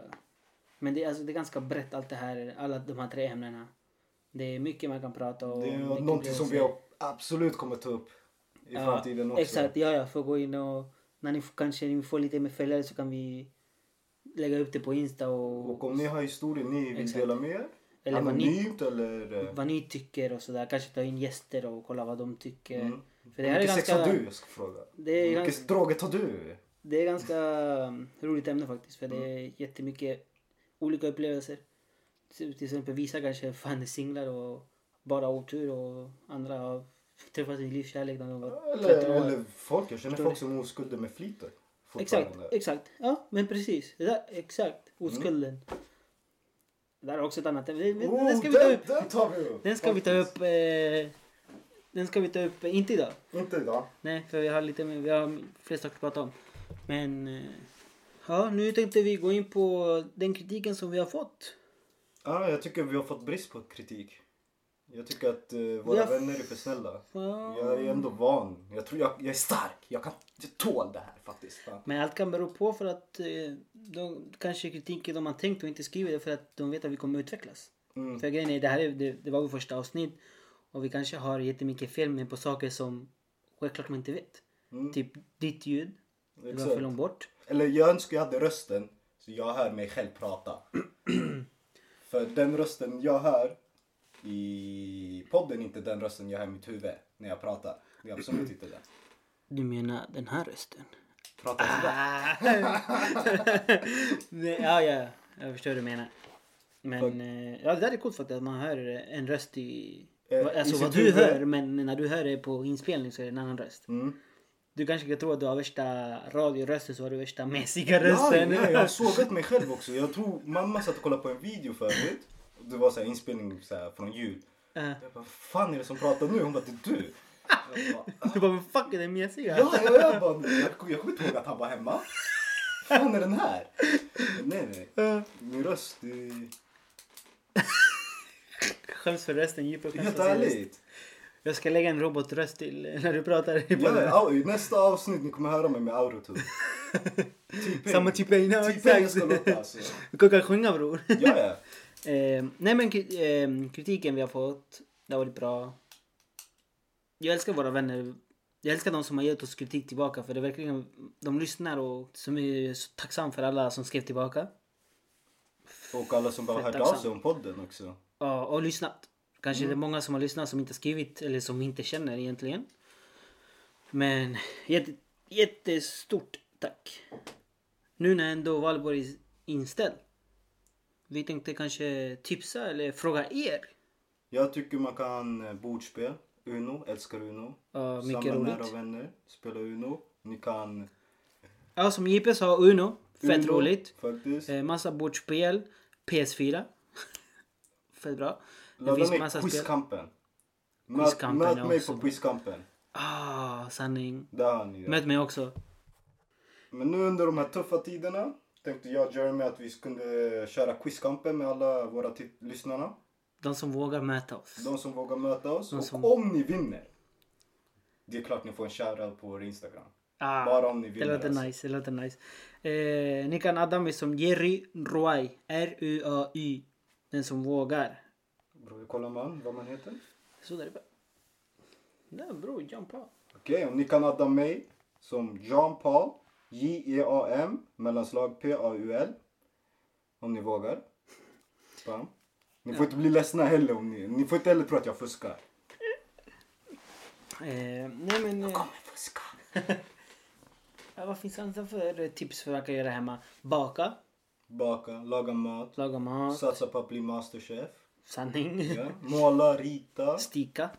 S1: men det, är- alltså, det är ganska brett allt det här, alla de här tre ämnena. Det är mycket man kan prata om.
S2: Det är
S1: mycket
S2: någonting som
S1: grejer.
S2: vi absolut kommer ta upp i
S1: Ja,
S2: framtiden också.
S1: Exakt, ja ja. Får gå in och när ni f- kanske ni får lite mer följare så kan vi lägga upp det på Insta och,
S2: Och om ni har historier ni vill
S1: Exakt.
S2: dela med er,
S1: Eller vad ni-
S2: anonymt eller... eh,
S1: vad ni tycker och sådär. Kanske ta in gäster och kolla vad de tycker.
S2: Mm.
S1: För det här är
S2: Vilken sex
S1: ganska,
S2: har du? Jag ska fråga.
S1: Det är
S2: Vilka
S1: ganska-
S2: droger tar du?
S1: det är ganska um, roligt ämne faktiskt. För
S2: Mm.
S1: det är jättemycket olika upplevelser. Till till exempel vissa kanske fan är singlar och bara har otur och andra har träffat sin livskärlek när de var 13
S2: Eller,
S1: år.
S2: eller folk, jag känner
S1: Förstår
S2: folk
S1: du?
S2: som är oskulder med flit.
S1: Exakt,
S2: fortfarande. Mm.
S1: exakt. Ja, men precis. Det där, exakt. Oskulden. Det där är också ett annat ämne. Det- det- Den ska vi ta upp.
S2: Oh, Den tar vi upp!
S1: Den ska vi ta upp. Eh, den ska vi ta upp, eh, inte idag.
S2: Inte idag.
S1: Nej, för vi har lite mer- vi har fler saker att prata om. Men eh, ja, nu tänkte vi gå in på den kritiken som vi har fått.
S2: Ja, jag tycker vi har fått brist på kritik. Jag tycker att eh, våra
S1: Jag-
S2: vänner är för snälla.
S1: Ja.
S2: Jag är ändå van. Jag tror jag, jag är stark. Jag kan jag tål det här faktiskt. Fan.
S1: Men allt kan bero på för att eh, de kanske kritiken de har tänkt och inte skriver det för att de vet att vi kommer utvecklas.
S2: Mm.
S1: För grejen är, det här är, det, det var vårt första avsnitt och vi kanske har jättemycket fel men på saker som självklart man inte vet.
S2: Mm.
S1: Typ ditt ljud, det var
S2: Exakt.
S1: för långt bort.
S2: Eller jag önskar jag hade rösten så jag hör mig själv prata. För den rösten jag hör i podden är inte den rösten jag hör i mitt huvud när jag pratar. Det är absolut inte det.
S1: Du menar den här rösten?
S2: Prata sådär.
S1: Nej, Äh. ja, ja. Jag förstår vad du menar. Men
S2: Fuck.
S1: eh, ja, det där är coolt faktiskt att man hör en röst i...
S2: Eh,
S1: va-
S2: i
S1: alltså
S2: sitt
S1: vad du
S2: huvud.
S1: hör men när du hör det på inspelning så är det en annan röst.
S2: Mm.
S1: Du kanske kan tro att du har värsta radiorösten så har du värsta mesiga
S2: Nej,
S1: rösten.
S2: nej, jag har sågat mig själv också. Jag tror mamma satt och kollade på en video förut. Och Det var så här inspelning så här, från jul.
S1: Eh,
S2: Jag bara, vad fan är det som pratar nu? Hon bara, det är du. Jag bara,
S1: Du bara men fuck den mesiga.
S2: Ja, ja, ja, jag, bara, jag, jag kommer inte ihåg att han var hemma. fan är den här? Nej, nej.
S1: Eh,
S2: Min röst, det är
S1: Skäms för rösten, djupa skäms
S2: helt
S1: för sin röst.
S2: ärligt.
S1: Jag ska lägga en robotröst till eh, när du pratar. i
S2: Ja,
S1: podden.
S2: ja, I nästa avsnitt ni kommer höra mig med autotune. T-Pain.
S1: Samma typ av... Ja,
S2: T-Pain jag ska
S1: exakt.
S2: låta alltså.
S1: Du kan kan sjunga bror.
S2: Ja, ja.
S1: Eh, nej men kri- ehm, kritiken vi har fått, det har varit bra. Jag älskar våra vänner. Jag älskar de som har gett oss kritik tillbaka för det är verkligen, de lyssnar och som är så tacksam för alla som skrev tillbaka.
S2: Och alla som bara
S1: Fett
S2: hört av
S1: tacksam.
S2: sig om podden också.
S1: Ja, och lyssnat. Kanske det är många som har lyssnat som inte har skrivit eller som inte känner egentligen. Men jätte, jättestort tack. Nu när ändå valborg är inställd. Vi tänkte kanske tipsa eller fråga er.
S2: Jag tycker man kan eh, bordspel. Uno, älskar Uno.
S1: Ja, mycket
S2: Samla
S1: roligt.
S2: nära vänner, spela Uno. Ni kan...
S1: Ja, som JP sa, Uno. Fett
S2: Uno,
S1: roligt.
S2: Faktiskt.
S1: Eh, massa bordspel. PS4. Fett bra. Det
S2: Ladda
S1: finns
S2: ner
S1: massa spel.
S2: Quizkampen. Möt,
S1: Quizkampen
S2: möt
S1: är
S2: mig
S1: också
S2: på
S1: bra.
S2: Quizkampen.
S1: Ah, sanning.
S2: Där har ni det.
S1: Möt mig också.
S2: Men nu under de här tuffa tiderna tänkte jag och Jeremy att vi kunde köra Quizkampen med alla våra tit- lyssnarna.
S1: De som vågar möta oss.
S2: De som vågar möta oss. Och
S1: som-
S2: om ni vinner. Det är klart ni får en shoutout på vår Instagram.
S1: Ah,
S2: Bara om ni vinner,
S1: Det låter
S2: alltså.
S1: nice. Det låter nice. Eh, ni kan adda mig som Jerry Ruay. R-U-A-Y. Den som vågar.
S2: Bror, kollar man vad man heter?
S1: Så där är det. Där bro, jumpa.
S2: Okej, om ni kan adda mig som Jean Paul J-E-A-M mellanslag P-A-U-L. Om ni vågar. Bam. Ni får inte bli ledsna heller om ni... Ni får inte heller tro att jag fuskar.
S1: Eh, nej men... Eh,
S2: fuska.
S1: ja, vad finns det andra för eh, tips för vad man kan göra hemma? Baka.
S2: Baka, laga mat.
S1: Laga mat.
S2: Satsa på att bli masterchef.
S1: Sanning.
S2: Ja. Måla, rita.
S1: Stika.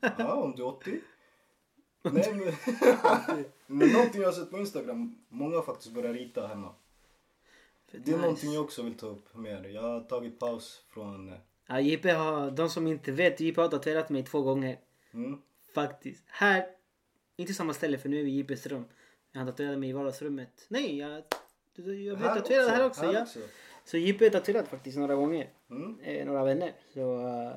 S2: Ja, om du är 80. Nej, men... men någonting jag har sett på Instagram. Många har faktiskt börjat rita hemma. Det är någonting jag också vill ta upp med er. Jag har tagit paus från... eh,
S1: Ja, JP har, de som inte vet, JP har tatuerat mig två gånger.
S2: Mm.
S1: Faktiskt. Här, inte samma ställe för nu är vi i JPs rum. Han tatuerade mig i vardagsrummet. Nej, jag, jag blev tatuerad här också. ja. Så JP är tatuerad faktiskt några gånger.
S2: Mm.
S1: Eh, några vänner. Så eh,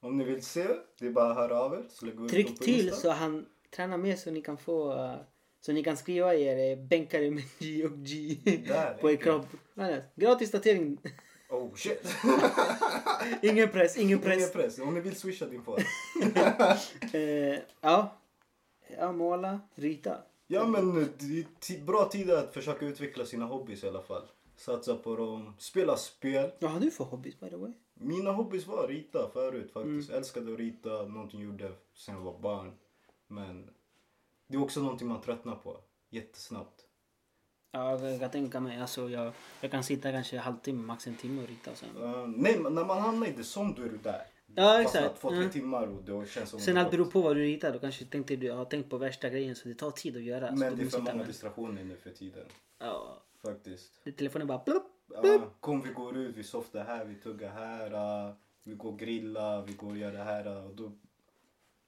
S2: Om ni vill se, det är bara att höra av er. Så lägger vi ut dem
S1: tryck
S2: på
S1: till
S2: Insta.
S1: så han tränar med så ni kan få eh, så ni kan skriva er eh, bänkare med G och G
S2: Där,
S1: på er
S2: enkelt.
S1: kropp. Annars, Gratis tatuering.
S2: Oh shit!
S1: ingen press, ingen press.
S2: Ingen press. Om ni vill swisha din far.
S1: Eh, ja. ja, måla, rita.
S2: Ja men eh, det är ti- bra tid att försöka utveckla sina hobbys i alla fall. Satsa på dem. Spela spel.
S1: Vad har du för hobbys by the way?
S2: Mina hobbys var att rita förut
S1: Mm.
S2: faktiskt. Älskade att rita, någonting jag gjorde sen jag var barn. Men det är också någonting man tröttnar på jättesnabbt.
S1: Ja, jag kan tänka mig. Alltså, jag, jag kan sitta kanske en halvtimme, max en timme och rita. och Sen,
S2: Eh, nej, men när man hamnar i det som du är du där.
S1: Ja, exakt.
S2: Fastnat två, tre
S1: Mm.
S2: timmar och det känns som
S1: sen
S2: det
S1: allt
S2: gått.
S1: beror på vad du ritar. Du kanske tänkte du har tänkt på värsta grejen så det tar tid att göra. så
S2: Men
S1: Alltså, då
S2: det är
S1: måste
S2: för
S1: jag
S2: många
S1: ta med-
S2: distraktioner nu för tiden.
S1: Ja,
S2: Faktiskt.
S1: det- telefonen bara plopp.
S2: Ja, kom vi går ut, vi softar här, vi tuggar här, ah, vi går grilla, vi går och gör det här. ah, Och då,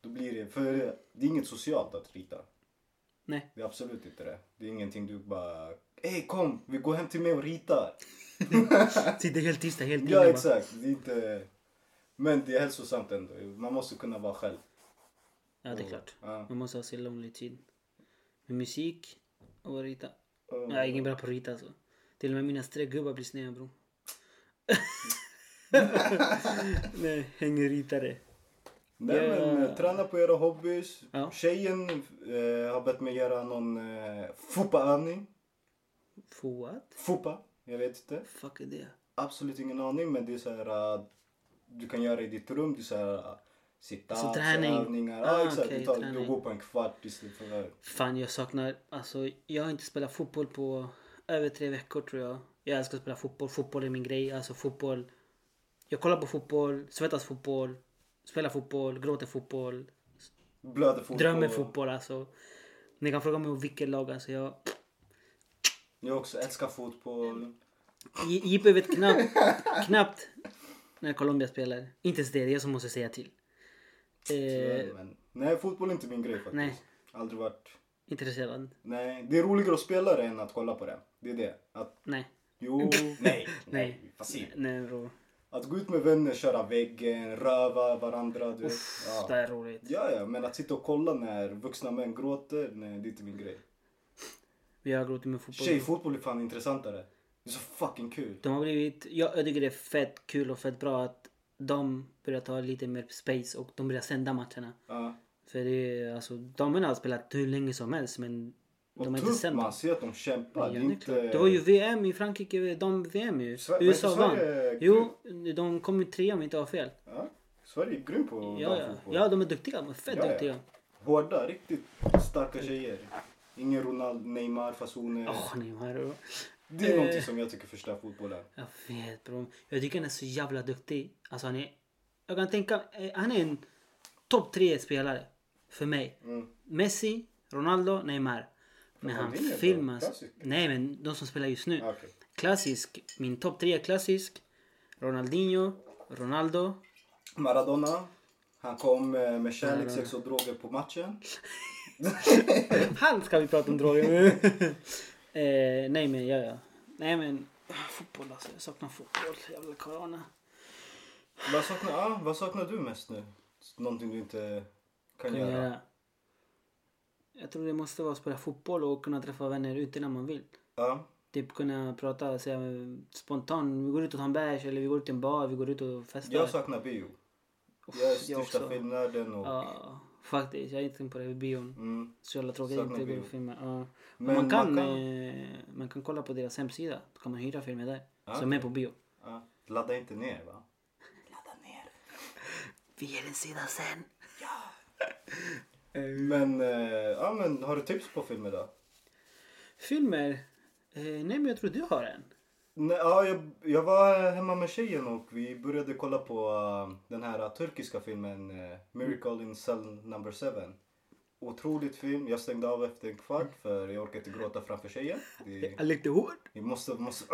S2: då blir det, för det är inget socialt att rita.
S1: Nej.
S2: Det är absolut inte det. Det är ingenting du bara, hej kom, vi går hem till mig och ritar.
S1: Sitter helt tysta, helt inne
S2: Ja
S1: bara.
S2: exakt, det är inte... Men det är hälsosamt ändå, man måste kunna vara själv.
S1: Ja, det är klart.
S2: Ja.
S1: Man måste ha sin lonely tid. Med musik och rita. Jag är ingen bra på att rita så. Till och med mina streckgubbar blir sneda bror. Nej, ingen ritare.
S2: Nej men eh, träna på era hobbys.
S1: Ja.
S2: Tjejen eh, har bett mig göra någon eh, fupa-övning.
S1: For what?
S2: Fupa, jag vet inte.
S1: Fuck är det?
S2: Absolut ingen aning men det är så här uh, du kan göra i ditt rum, det är så här uh, sit-ups,
S1: Så träning.
S2: övningar.
S1: Ah,
S2: ja exakt,
S1: okej,
S2: du, tar,
S1: träning.
S2: du går på en kvart istället för
S1: Fan jag saknar, alltså jag har inte spelat fotboll på över tre veckor tror jag. Jag älskar att spela fotboll. Fotboll är min grej. Alltså fotboll. Jag kollar på fotboll, svettas fotboll, spelar fotboll, gråter fotboll,
S2: Blöder fotboll.
S1: drömmer fotboll alltså. Ni kan fråga mig om vilket lag alltså. Jag,
S2: Jag också älskar fotboll.
S1: Eh, J- JP vet knappt, knappt när Colombia spelar. Inte ens det, det är jag som måste säga till. Eh,
S2: Tyvärr, men... Nej, fotboll är inte min grej faktiskt.
S1: Nej.
S2: Aldrig varit...
S1: intresserad?
S2: Nej, det är roligare att spela det än att kolla på det. Det är det. Att...
S1: Nej.
S2: Jo, nej.
S1: Nej.
S2: Fasiv.
S1: Nej, bro.
S2: Att gå ut med vänner, köra väggen, röva varandra. Du vet.
S1: Uff, Det
S2: Ja.
S1: här är roligt.
S2: ja, ja, men att sitta och kolla när vuxna män gråter, nej det är inte min grej.
S1: Vi har gråtit med fotboll.
S2: Tjejfotboll är fan intressantare. Det är så fucking kul.
S1: De har blivit, jag, jag tycker det är fett kul och fett bra att de börjar ta lite mer space och de börjar sända matcherna.
S2: Ja.
S1: För det är, alltså, damerna har spelat hur länge som helst men
S2: Och
S1: de har inte
S2: tufft
S1: sänt.
S2: man ser att de kämpar.
S1: Ja,
S2: det
S1: det,
S2: är
S1: är
S2: inte...
S1: klart. det var ju VM i Frankrike, dam-VM ju.
S2: Sve- var inte
S1: USA vann.
S2: Sverige-
S1: Jo, de kom ju trea om jag inte har fel.
S2: Ja. Sverige är grym på
S1: Ja, ja.
S2: damfotboll.
S1: ja, de är duktiga. De är fett
S2: Ja, ja.
S1: duktiga.
S2: Hårda, riktigt starka tjejer. Ingen Ronald, Neymar fasoner.
S1: Åh, Neymar. bro.
S2: Det är någonting som jag tycker förstör fotbollen.
S1: Eh, Jag vet bro. Jag tycker han är så jävla duktig. Alltså han är... Jag kan tänka... eh, Han är en topp tre spelare. För mig.
S2: Mm.
S1: Messi, Ronaldo, Neymar. Men han
S2: Ronaldinho är bra.
S1: filmas...
S2: Klassiker.
S1: Nej men de som spelar just nu.
S2: Okej.
S1: Klassisk. Min topp tre är klassisk. Ronaldinho, Ronaldo.
S2: Maradona. Han kom eh, med kärlek, sex och droger på matchen.
S1: Han ska vi prata om droger nu. eh, nej men ja ja. Nej men ah, fotboll alltså. Jag saknar fotboll. Jävla corona.
S2: Vad saknar, ah, vad saknar du mest nu? Någonting du inte kan,
S1: kan
S2: göra?
S1: göra. Eh, Jag tror det måste vara att spela fotboll och kunna träffa vänner ute när man vill.
S2: Ja.
S1: Typ kunna prata säga, spontant. Vi går ut och tar en bärs eller vi går ut till en bar. Vi går ut och festar.
S2: Jag saknar bio. Jag är
S1: jag
S2: största
S1: också.
S2: filmnörden och...
S1: Ja, faktiskt. Jag är inte tänkt på det. Bion.
S2: Mm.
S1: Så jävla tråkigt att
S2: Saknar
S1: inte gå
S2: bio.
S1: på filmer. Ja.
S2: Men
S1: Men man kan,
S2: man kan-
S1: Eh, man kan kolla på deras hemsida. Då kan man hyra filmer där.
S2: Ja,
S1: Som är på bio.
S2: Ja. Ladda inte ner va?
S1: Vi ger en sida sen.
S2: Men, eh, ja, men har du tips på filmer då?
S1: Filmer? Eh, nej men jag tror du har en.
S2: Nej, ja, jag, jag var hemma med tjejen och vi började kolla på eh, den här turkiska filmen eh, Miracle in Cell Number 7. Otroligt film. Jag stängde av efter en kvart för jag orkade inte gråta framför tjejen. Det,
S1: Jag lite hårt.
S2: vi måste... måste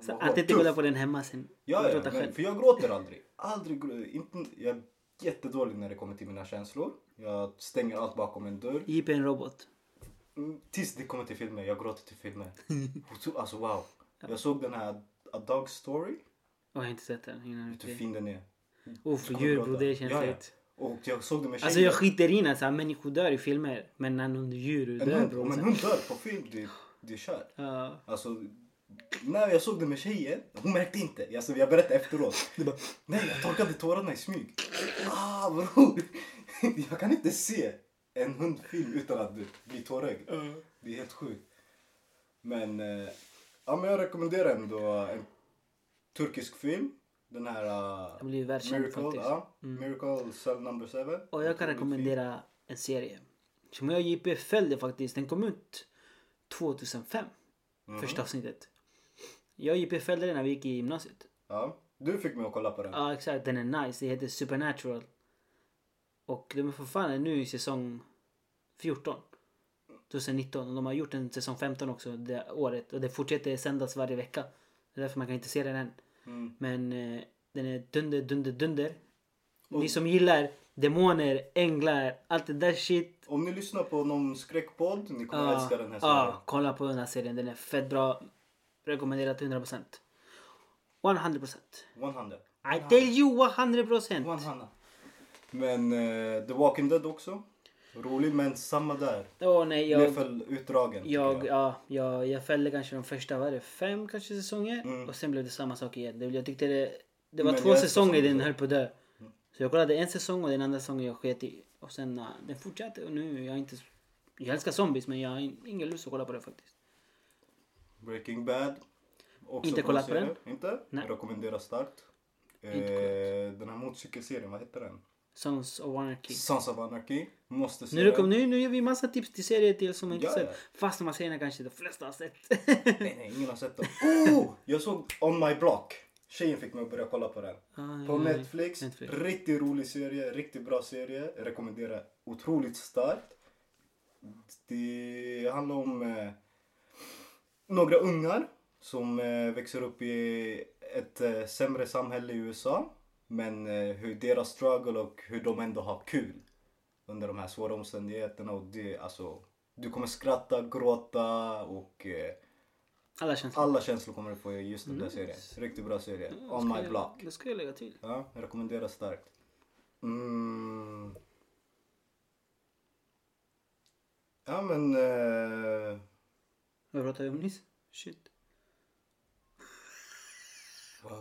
S1: Så
S2: vara
S1: att inte
S2: tuff.
S1: kolla på den hemma sen.
S2: Ja, ja
S1: Gråta
S2: men,
S1: själv.
S2: för jag gråter aldrig. aldrig gr- inte, jag är jättedålig när det kommer till mina känslor. Jag stänger allt bakom en dörr.
S1: JP är en robot.
S2: Mm, Tills det kommer till filmer, jag gråter till filmer. Otro- alltså wow. Jag såg den här A Dog Story.
S1: Och jag har inte sett den innan.
S2: Vet du hur
S1: okej.
S2: fin den är?
S1: Uff,
S2: Kommer
S1: djur
S2: gråta.
S1: bro, det känns
S2: Ja, ja.
S1: rätt.
S2: Och jag såg det med
S1: Alltså jag skiter i när så här människor dör i filmer. Men när någon djur
S2: en
S1: dör
S2: hund,
S1: bro.
S2: om
S1: så
S2: en
S1: här-
S2: hund dör på film, det, det är kört.
S1: Ja.
S2: Alltså, när jag såg det med tjejen, hon märkte inte. Alltså, jag berättade efteråt. Det bara, nej jag torkade tårarna i smyg. Ah bror! Jag kan inte se en hundfilm utan att bli tårögd. Det är helt sjukt. Men, eh, ja, men jag rekommenderar ändå en turkisk film. Den här
S1: Det
S2: uh,
S1: blir världskänd
S2: Miracle,
S1: faktiskt.
S2: ja, Miracle Cell Number 7.
S1: Och jag kan rekommendera en serie. Som jag och JP följde faktiskt. Den kom ut 2005.
S2: Mhm.
S1: Första avsnittet. Jag och JP följde den när vi gick i gymnasiet.
S2: Ja, du fick mig att kolla på den.
S1: Ja exakt, den är nice. Det heter Supernatural. Och de är för fan nu i säsong 14. 2019. Och de har gjort en säsong 15 också det året. Och det fortsätter sändas varje vecka. Det är därför man kan inte se den än.
S2: Mm.
S1: Men eh, den är dunder, dunder, dunder. Ni som gillar demoner, änglar, allt det där shit.
S2: Om ni lyssnar på någon skräckpodd, ni kommer älska den här serien.
S1: Ja, ah, kolla på den här serien. Den är fett bra. Rekommenderat 100%. 100%.
S2: 100.
S1: I tell you 100%.
S2: 100. Men eh, The Walking Dead också. Rolig men samma där.
S1: Åh nej,
S2: Jag,
S1: jag...
S2: Blev för utdragen. tycker
S1: Jag, ja, jag, jag fällde kanske de första vad är det, fem kanske säsonger och sen blev det samma sak igen. Det, jag tyckte det, det var
S2: Mm. Men
S1: två
S2: jag-
S1: säsonger den höll på att dö.
S2: Mm.
S1: Så jag kollade en säsong och den andra säsongen jag sket i. Och sen ja, den fortsatte och nu jag är inte... Jag älskar zombies men jag har in- ingen lust att kolla på det faktiskt.
S2: Breaking Bad. Också
S1: Inte
S2: bra
S1: kollat på
S2: serie. Inte?
S1: Nej.
S2: Rekommenderar starkt. Eh,
S1: Inte
S2: den här motorcykelserien, vad heter den?
S1: Sons of Anarchy.
S2: Sons of Anarchy. Måste se
S1: Nu,
S2: den.
S1: rekom- nu, nu gör vi massa tips till serier till som man inte
S2: Ja,
S1: sett.
S2: ja.
S1: Fast man säger kanske de flesta har sett.
S2: Nej, nej, ingen har sett den. Oh! Jag såg On My Block. Tjejen fick mig att börja kolla på den.
S1: Ah,
S2: På
S1: ja, ja.
S2: Netflix.
S1: Netflix.
S2: Riktigt rolig serie, riktigt bra serie. Jag rekommenderar otroligt starkt. Det handlar om eh, några ungar som eh, växer upp i ett eh, sämre samhälle i USA. Men eh, hur deras struggle och hur de ändå har kul under de här svåra omständigheterna. Och det, alltså, du kommer skratta, gråta och eh,
S1: Alla känslor.
S2: alla känslor kommer du få i just den där serien. Riktigt bra serie. On
S1: Mm. Ska
S2: my
S1: jag-
S2: block.
S1: Det ska jag lägga till.
S2: Ja, jag rekommenderar starkt. Mm. Ja men... Eh,
S1: Vad pratade vi om nyss? Shit.
S2: wow.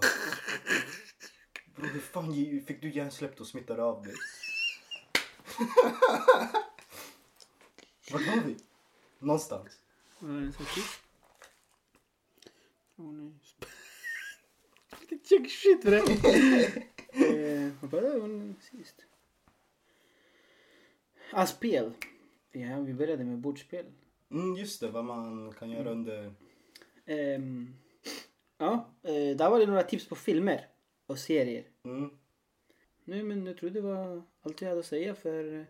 S2: Bro, hur fan ge- fick du hjärnsläpp och smittade av dig? Vart var vi? Någonstans.
S1: Vad var det som shit? Åh nej. Vilket tjock shit för det. Eh, Vad pratade vi om sist? Ah, spel. Ja, vi började med bordspel.
S2: Mm, just det, vad man kan
S1: Mm.
S2: göra under...
S1: Ehm, ja, eh, där var det några tips på filmer och serier.
S2: Mm.
S1: Nej men jag tror det var allt jag hade att säga för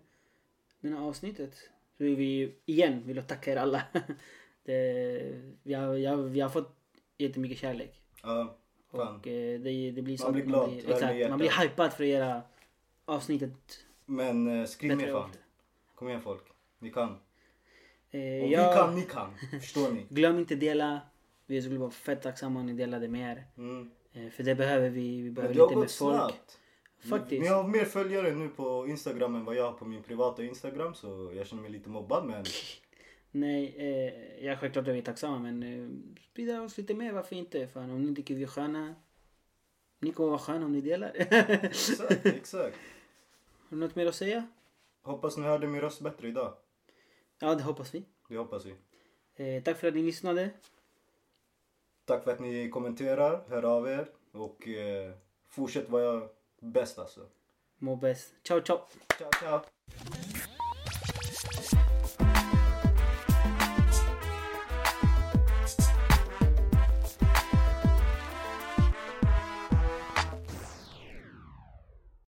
S1: det här avsnittet. Så vi igen vill jag tacka er alla. Det, vi, har, jag, vi har fått jättemycket kärlek.
S2: Ja, fan.
S1: Och eh, det, det blir så
S2: Man blir
S1: att
S2: glad, värme i
S1: exakt, man
S2: hjärtat.
S1: blir hypad för era avsnittet.
S2: Men eh, skriv mer
S1: Bättre
S2: fan. Kom igen folk. Ni kan. Om
S1: Eh,
S2: vi
S1: jag,
S2: kan, ni kan. Förstår ni? Mm.
S1: Glöm inte dela. Vi skulle vara fett tacksamma om ni delade med er.
S2: Mm.
S1: Eh, för det behöver vi. Vi behöver
S2: Men det har
S1: lite mer
S2: gått
S1: folk.
S2: snabbt.
S1: Faktiskt.
S2: Ni har mer följare nu på Instagram än vad jag har på min privata Instagram så jag känner mig lite mobbad men
S1: Nej, eh, jag är självklart är vi tacksamma men eh, sprida oss lite mer, varför inte? Fan, om ni tycker vi är sköna, ni kommer vara sköna om ni delar.
S2: exakt, exakt.
S1: Har du något mer att säga?
S2: Hoppas ni hörde min röst bättre idag.
S1: Ja, det hoppas vi.
S2: Det hoppas vi.
S1: Eh, tack för att ni lyssnade.
S2: Tack för att ni kommenterar, hör av er och eh, fortsätt vara bäst alltså.
S1: Må bäst. Ciao, ciao!
S2: Ciao ciao!